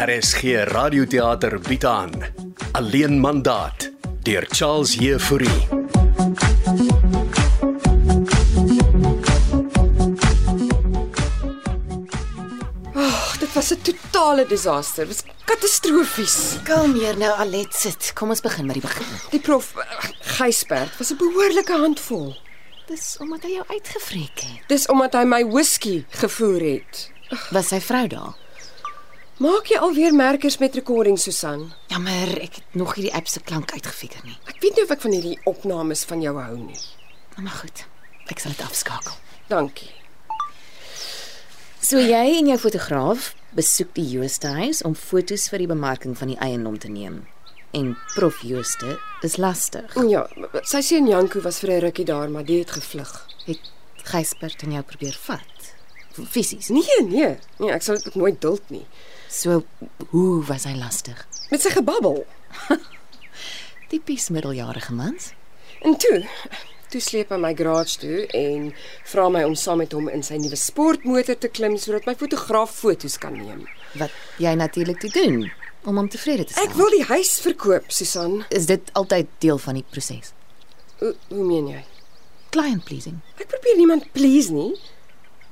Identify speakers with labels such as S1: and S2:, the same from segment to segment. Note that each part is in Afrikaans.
S1: RSG Radioteater bied aan Alleen mandaat deur Charles Heffouri.
S2: Ag, dit was 'n totale desaster. Dit was katastrofies.
S3: Kalmeer nou Alet sit. Kom ons begin by die begin.
S2: Die prof eh, Gysbert was 'n behoorlike handvol.
S3: Dis omdat hy jou uitgevreek het.
S2: Dis omdat hy my whisky gevoer het.
S3: Was sy vrou daar?
S2: Maak jy alweer merkers met recording, Susan?
S3: Jammer, Ja, ek het nog hierdie app se klank uitgefigure nie.
S2: Ek weet nie of ek van hierdie opnames van jou hou nie.
S3: Nou maar goed. Ek sal dit afskakel.
S2: Dankie.
S4: So jy en jou fotograaf besoek die Jooste huis om fotos vir die bemarking van die eiendom te neem. En prof Jooste is lastig.
S2: Ja, sy seun Janko was vir 'n rukkie daar, maar die het gevlug.
S4: Het Gysbert en jou probeer vat. Fisies.
S2: Nee, nee. Nee, ek sal dit ook nooit duld nie.
S4: So hoe was hy lastig?
S2: Met sy gebabbel.
S4: Tipies middeljarige mans.
S2: En toe, toe sleep hy my garage toe en vra my om saam met hom in sy nuwe sportmotor te klim sodat my fotograaf foto's kan neem.
S4: Wat jy natuurlik te doen om hom tevrede te stel.
S2: Ek wil die huis verkoop, Susan.
S4: Is dit altyd deel van die proses?
S2: Hoe, hoe meen jy?
S4: Client pleasing.
S2: Ek probeer niemand please nie.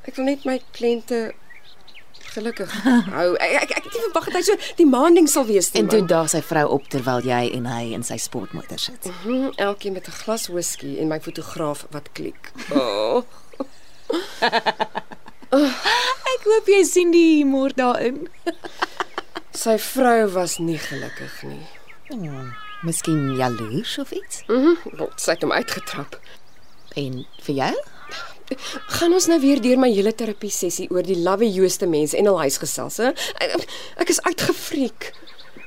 S2: Ek wil net my kliënte gelukkig hou. Ek ek, ek het nie verwag dat hy so die maanding sal wees nie.
S4: En toe
S2: man.
S4: daar sy vrou op terwyl jy en hy in sy sportmotor sit.
S2: Mhm, elkeen met 'n glas whisky en my fotograaf wat klik. Oh,
S4: Ek hoop jy sien die humor daarin.
S2: sy vrou was nie gelukkig nie.
S4: Oh, miskien jaloers of iets?
S2: Mhm, want sy het hom uitgetrap.
S4: En vir jou?
S2: Gaan ons nou weer deur my hele terapie sessie oor die lawwe Jooste mense en hul huisgesels, hè? Ek, ek is uitgefriek.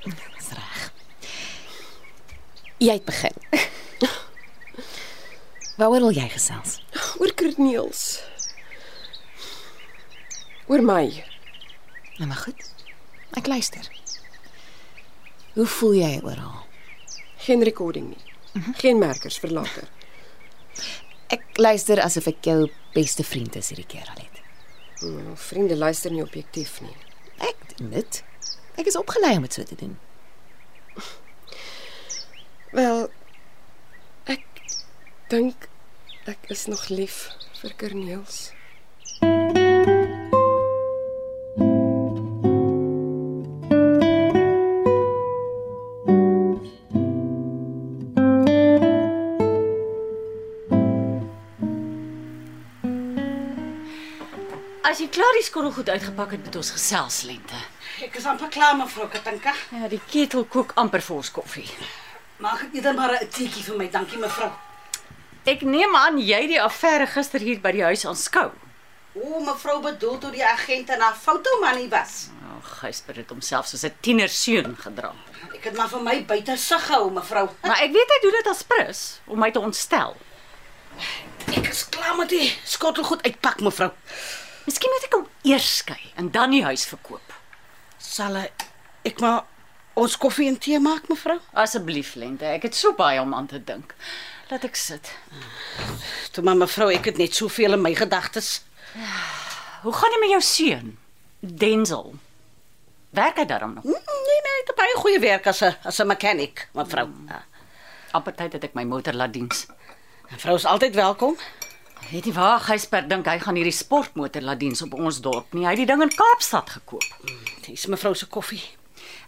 S4: Dis reg. Jy het begin. Waaroor wil jy gesels?
S2: Oor Corneels. Oor my.
S4: Nou maar goed. Ek luister. Hoe voel jy oor haar?
S2: Geen recording nie. Geen merkers vir later.
S4: Ek luister asof ek jou beste vriend is hierdie keer, Alet.
S2: Nou, vriende luister nie objektief nie.
S4: Ek doen dit. Ek is opgelei om dit so te doen.
S2: Wel ek dink ek is nog lief vir Corneels.
S5: As jy klaar die skottelgoed uitgepak het, moet ons gesels lente.
S6: Ek is amper klaar mevrou Katanka.
S5: Ja, die ketel kook amper vir ons koffie.
S6: Maak ek eerder maar 'n teetjie vir my, dankie mevrou.
S5: Ek neem aan jy het die affære gister hier by die huis aanskou.
S6: O, mevrou bedoel toe die agent en haar fotomanie was.
S5: O, oh, Gysper het homself soos 'n tiener seun gedra.
S6: Ek het maar vir my buite sig gehou mevrou.
S5: Maar ek weet hy doen dit as prins om my te ontstel.
S6: Ek is klaar met die skottelgoed uitpak mevrou.
S5: Miskien moet ek hom eers skei en dan die huis verkoop.
S6: Sal ek maar ons koffie en tee maak mevrou?
S5: Asseblief lente, ek het so baie om aan te dink. Laat ek sit.
S6: Toe maar mevrou, ek het net soveel in my gedagtes.
S5: Hoe gaan dit met jou seun? Denzel. Werk hy daarom nog?
S6: Mm, Nee nee, ek het baie goeie werk as 'n as 'n mechanic mevrou. Ja.
S5: Appetyd het ek my motor laat diens.
S6: Mevrou is altyd welkom.
S5: Weet jy waar Gysper dink hy gaan hierdie sportmotor laat diens op ons dorp nie. Hy het die ding in Kaapstad gekoop.
S6: Dis mevrou se koffie.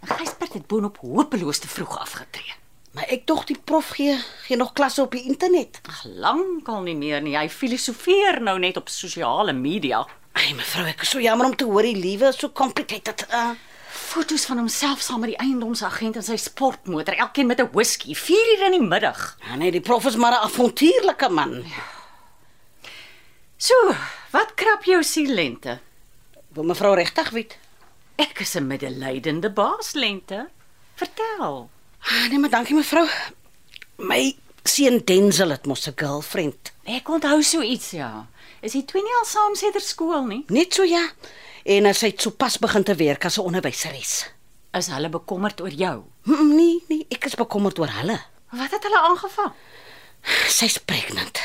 S5: En Gysper het boonop hopeloos te vroeg afgetree.
S6: Maar ek dog die prof gee gee nog klasse op die internet.
S5: Ag, lankal nie meer nie. Hy filosofeer nou net op sosiale media.
S6: Ai mevrou, ek is so jammer om te hoor die liewe is so complicated. Uh,
S5: Foto's van homself saam met die eiendomsagent in sy sportmotor, elkeen met 'n whisky, 4 uur in die middag.
S6: ja, nee, die prof is maar 'n avontuurlike man.
S5: So, wat krap jou siel lente?
S6: Wil mevrou regtig weet?
S5: Ek is 'n middelydende baas lente. Vertel.
S6: Ah, nee, maar dankie mevrou. My seun Denzel het mos 'n girlfriend.
S5: Ek onthou so iets ja. Is hy twee nie al saam sedert skool nie?
S6: Net so ja. En as hy sopas begin te werk as 'n onderwyseres.
S5: Is hulle bekommerd oor jou?
S6: Mm, mm, Nee, nee, ek is bekommerd oor hulle.
S5: Wat het hulle aangevang?
S6: Sy's pregnant.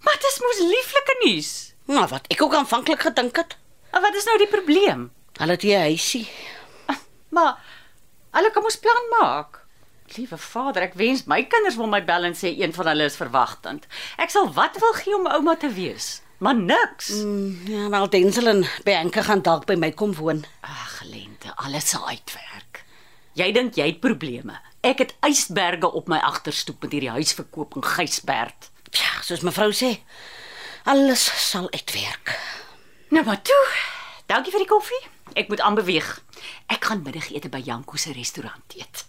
S5: Maar dit is mos lieflike nuus.
S6: Nou wat, ek ook aanvanklik gedink het.
S5: En wat is nou die probleem?
S6: Hulle het hier 'n huisie.
S5: Maar hulle kan mos plan maak. Liewe Vader, ek wens my kinders wil my bel en sê een van hulle is verwagtend. Ek sal wat wil gee om ouma te wees, maar niks.
S6: Ja, wel Denzel en Bianca gaan dalk by my kom woon.
S5: Ag, lente, alles sal uitwerk. Jy dink jy het probleme. Ek het ysberge op my agterstoep met hierdie huisverkoop in Gysbert.
S6: Ja, soos mevrou sê, alles sal uitwerk.
S5: Nou maar toe. Dankie vir die koffie. Ek moet aanbeweeg. Ek gaan middagete by Janko se restaurant eet.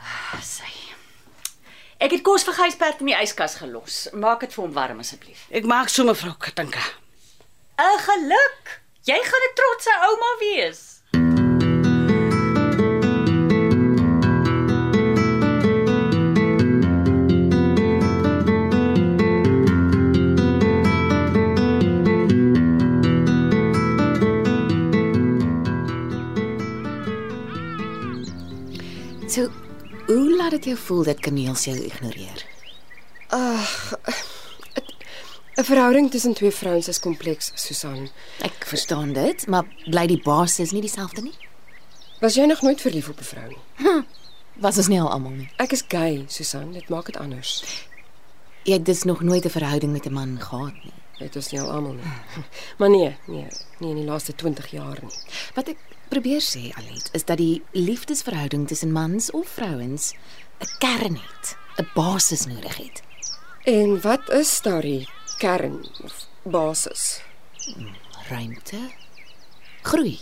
S5: Ah, Sy. Ek het kos vir Gysbert in die yskas gelos. Maak dit vir hom warm asseblief.
S6: Ek maak so mevrou Katinka.
S5: 'n Geluk. Jy gaan 'n trotse ouma wees.
S3: So, hoe laat dit jou voel dat kaneels jou ignoreer?
S2: 'n Verhouding tussen twee vrouens is kompleks, Susan.
S3: Ek verstaan dit, maar bly die basis nie dieselfde nie?
S2: Was jy nog nooit verlief op 'n vrou nie?
S3: Was ons nie al almal nie.
S2: Ek is gay, Susan, dit maak dit anders.
S3: Jy het dus nog nooit 'n verhouding met 'n man gehad nie.
S2: Dit is nie al almal nie. Maar nee, nee, nie in die laaste 20 jaar nie.
S3: Wat ek probeer sê, Alet, is dat die liefdesverhouding tussen mans of vrouens 'n kern het, 'n basis nodig het.
S2: En wat is daardie kern of basis?
S3: Ruimte, groei.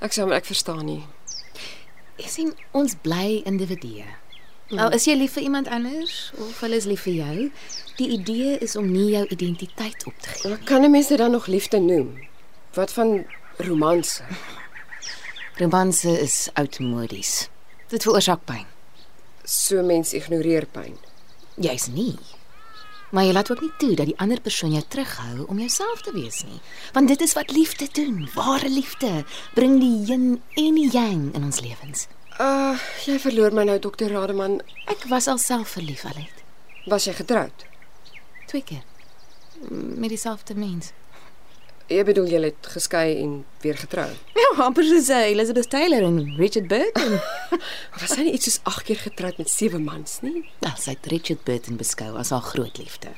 S2: Ek sê maar ek verstaan nie.
S3: Jy sien, ons bly individue. Nou, is jy lief vir iemand anders of hulle is lief vir jou? Die idee is om nie jou identiteit op te gee.
S2: Maar kan 'n mens dit dan nog liefde noem? Wat van romanse?
S3: Romanse is oudmodies. Dit veroorsaak pyn.
S2: So mens ignoreer pyn.
S3: Jy's nie. Maar jy laat ook nie toe dat die ander persoon jou terughou om jouself te wees nie, want dit is wat liefde doen. Ware liefde bring die yin en die yang in ons lewens.
S2: Uh, jy verloor my nou dokter Rademan.
S3: Ek was alself verlief allet,
S2: Was jy getroud?
S3: twee keer Mm, met dieselfde mens.
S2: Jy bedoel jy het geskei en weer getrou.
S3: Ja, amper soos uh, Elizabeth Taylor en Richard Burton.
S2: Was hy nie iets soos 8 keer getroud met 7 mans nie?
S3: Wel, Nou, sy het Richard Burton beskou as haar groot liefde.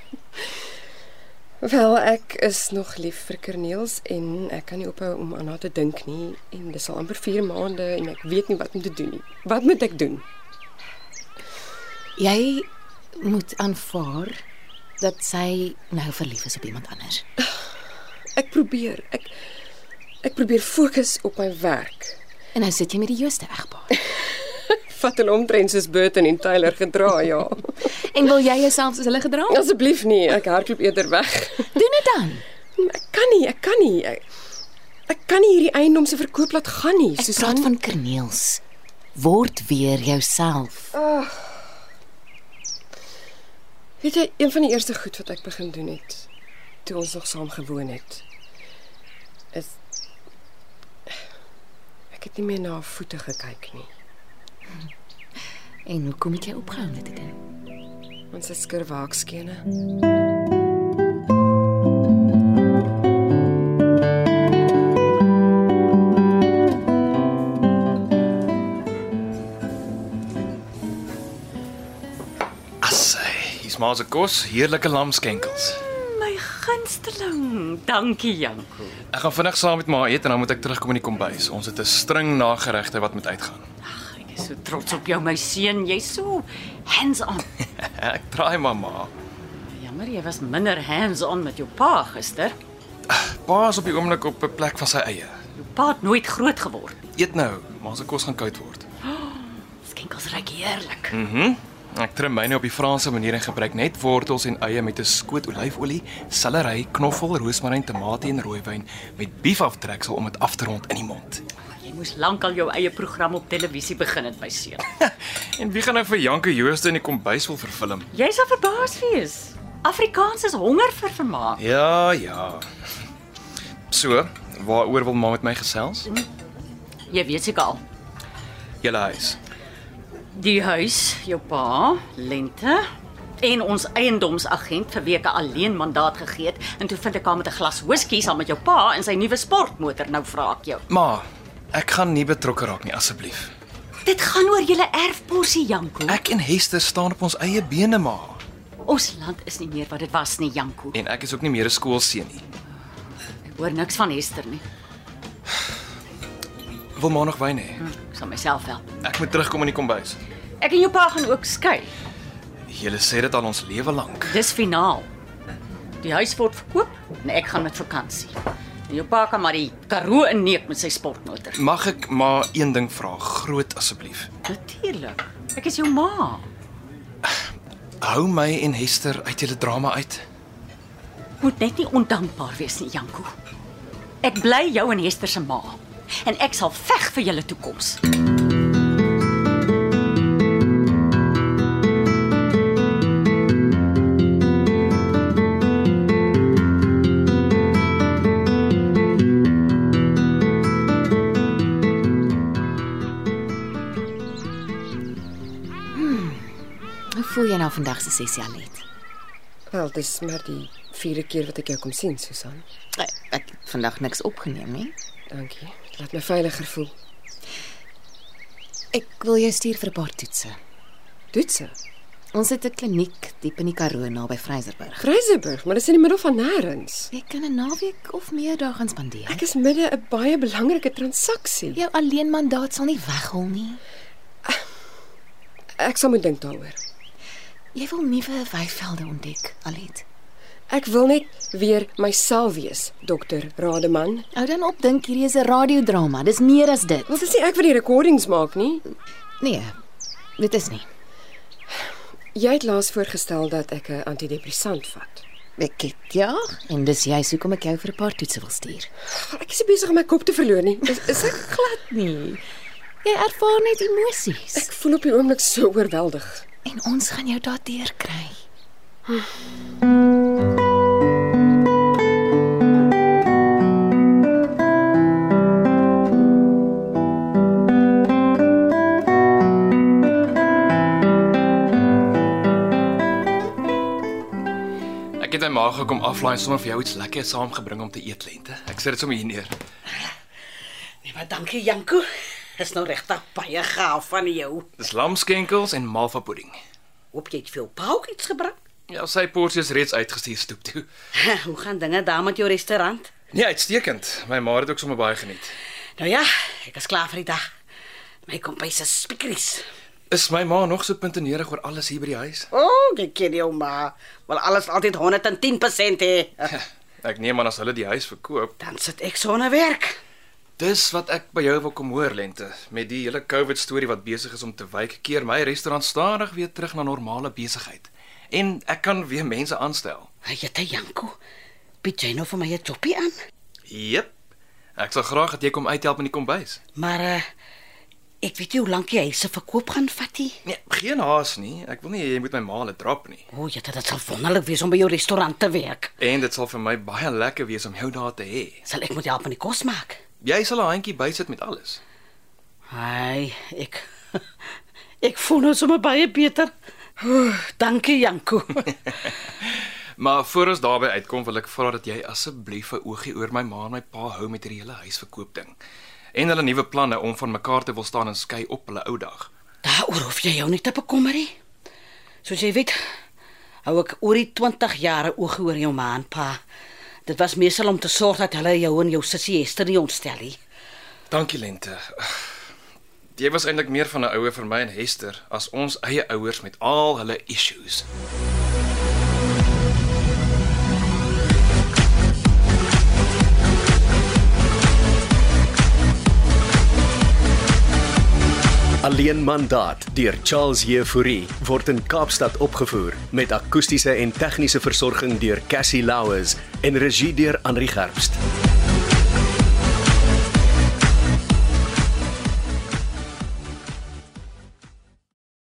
S2: Wel, ek is nog lief vir Kerneels en ek kan nie ophou om aan haar te dink nie en dis al amper 4 maande en ek weet nie wat om te doen nie. Wat moet ek doen?
S3: Jy moet aanvaar dat sy nou verlief is op iemand anders.
S2: Ek probeer. Ek ek probeer fokus op my werk.
S3: En nou sit jy met die jongste egpaar.
S2: Vat hulle omtrent soos Burton en Taylor gedra, ja.
S3: en wil jy jouself soos hulle gedra?
S2: Asseblief nee, ek hardloop eerder weg.
S3: Doen dit dan.
S2: Ek kan nie, ek kan nie. Ek, ek kan nie hierdie eiendom se verkoop laat gaan nie,
S3: Ek praat van Kerneels. Word weer jouself.
S2: Weet jy, een van die eerste goed wat ek begin doen het toe ons nog saam gewoon het is ek het nie meer na haar voete gekyk nie.
S3: En hoekom het jy opgehou met dit? doen?
S2: Ons het skurwaakskene.
S7: Assai, hier's maar se kos, heerlike lamskenkels.
S5: My gunsteling. Dankie, Janko.
S7: Ek gaan vinnig saam met ma eet en dan moet ek terugkom in die kombuis. Ons het 'n string nageregte wat moet uitgaan.
S5: Ek is so trots op jou, my seun. Jy's so hands-on.
S7: Ek draai mamma.
S5: Jammer, jy was minder hands-on met jou pa gister.
S7: Pa is op die oomblik op 'n plek van sy eie.
S5: Jou pa het nooit groot geword nie.
S7: Eet nou, maar se kos gaan koud word.
S5: Skenkels ruik heerlik.
S7: Ek trim myne op die Franse manier en gebruik net wortels en eie met 'n skoot olyfolie, selery, knoffel, roosmaryn, tamatie en rooiwyn met biefaftreksel om dit af te rond in die mond.
S5: Jy moes lankal jou eie program op televisie begin het, my seun.
S7: En wie gaan nou vir Janke Jooste in die kombuis wil vervilm?
S5: Jy sal verbaas wees. Afrikaans is honger vir vermaak.
S7: Ja, ja. So, waaroor wil ma met my gesels?
S5: Jy weet seker al.
S7: Julle huis.
S5: Die huis, jou pa, lente, en ons eiendomsagent vir weke alleen mandaat gegee het en toe vind ek haar met 'n glas whisky saam met jou pa in sy nuwe sportmotor. Nou vra ek jou.
S7: Ma, ek gaan nie betrokke raak nie asseblief.
S5: Dit gaan oor julle erfporsie, Janko.
S7: Ek en Hester staan op ons eie bene, ma.
S5: Ons land is nie meer wat dit was nie, Janko.
S7: En ek is ook nie meer 'n skoolseun nie.
S5: Ek hoor niks van Hester nie.
S7: Wil ma nog wyn hê?
S5: Ek sal myself help.
S7: Ek moet terugkom in die kombuis.
S5: Ek en jou pa gaan ook skei.
S7: Julle sê dit al ons lewe lank.
S5: Dis finaal. Die huis word verkoop en ek gaan met vakansie. En jou pa kan maar die Karoo inneek met sy sportmotor.
S7: Mag ek maar een ding vra, groot asseblief.
S5: Natuurlik. Ek is jou ma.
S7: Hou my en Hester uit julle drama uit.
S5: Moet net nie ondankbaar wees nie, Janko. Ek bly jou en Hester se ma en ek sal veg vir julle toekoms.
S3: Hoe voel jy nou vandag se sessie Alet?
S2: Wel, dis maar die vierde keer wat ek jou kom sien, Susan.
S4: Ek, ek het vandag niks opgeneem nie.
S2: Dankie. Dit laat my veiliger voel.
S3: Ek wil jou stuur vir 'n paar toetse.
S2: Toetse.
S4: Ons het 'n kliniek diep in die Karoo naby Vryburg.
S2: Greiseburg, maar dis in die middel van nêrens.
S3: Jy kan 'n naweek of meer daar gaan spandeer.
S2: Ek is midde 'n baie belangrike transaksie.
S3: Jou alleen mandaat sal nie weghol nie.
S2: Ek sal moet dink daaroor.
S3: Jy wil nuwe weivelde ontdek, Alet.
S2: Ek wil net weer myself wees, dokter Rademan.
S3: Hou dan op dink hierdie is 'n radiodrama. Dis meer as dit.
S2: Wat is nie ek wat die recordings maak nie?
S3: Nee. Dit is nie.
S2: Jy het laas voorgestel dat ek 'n antidepressant vat.
S4: Ek het ja, en dis juist hoekom ek jou vir 'n paar toetse wil stuur.
S2: Ek is nie besig om my kop te verloor nie. Is, is ek glad?
S3: Nee. Jy ervaar net emosies.
S2: Ek voel op die oomblik so oorweldig.
S3: En ons gaan jou daardeur kry.
S7: Ek het my ma gekom aflaai en sommer vir jou iets lekker saamgebring om te eet lente. Ek sit dit sommer hier neer.
S6: Nee, maar dankie Janko. Dis nou regtig baie gaaf van jou.
S7: Dis lamskenkels en malva pudding.
S6: Hoop jy het veel pauk iets gebring?
S7: Ja, sy porsie is reeds uitgestuur stoep toe.
S6: Hoe gaan dinge daar met jou restaurant?
S7: Nee, uitstekend. My ma het ook sommer baie geniet.
S6: Nou ja, ek is klaar vir die dag. My kompies is spiekeries.
S7: Is my ma nog so puntenerig oor alles hier by die huis?
S6: O, oh, ek ken jou ma. Wel alles altyd 110% hè.
S7: Ek neem aan as hulle die huis verkoop,
S6: Dan sit ek sonder werk.
S7: dis wat ek by jou wil kom hoor lente. Met die hele COVID storie wat besig is om te wyk, keer my restaurant stadig weer terug na normale besigheid. En ek kan weer mense aanstel.
S6: Jette Janko, bied jy nou vir my 'n joppie aan?
S7: Jep. Ek sal graag dat jy kom uithelp in die kombuis.
S6: Maar uh, ek weet nie hoe lank jy se verkoop gaan vat nie.
S7: Nee, geen haas nie. Ek wil nie jy moet my ma laat drop nie.
S6: O, oh, Jette, dit sal wonderlik wees om by jou restaurant te werk.
S7: En dit sal vir my baie lekker wees om jou daar te hê.
S6: Sal ek moet help met die kos maak?
S7: Jy sal 'n handjie bysit met alles.
S6: Ai, ek ek voel nou sommer baie beter. Oeh, dankie Janko.
S7: Maar voor ons daarby uitkom, wil ek vra dat jy asseblief 'n oogie oor my ma en my pa hou met hierdie hele huisverkoop ding. En hulle nuwe planne om van mekaar te wil staan en skei op hulle ou dag.
S6: Daaroor hoef jy jou nie te bekommer nie. Soos jy weet, hou ek oor die 20 jare oog oor jou ma en pa. Dit was meestal om te sorg dat hulle jou en jou sussie Esther nie ontstel nie.
S7: Dankie Lente. Jy was eintlik meer van 'n ouer vir my en Hester as ons eie ouers met al hulle issues.
S1: Alleen mandaat deur Charles Jefouri word in Kaapstad opgevoer met akoestiese en tegniese versorging deur Cassie Louws en regie deur Henri Gerst.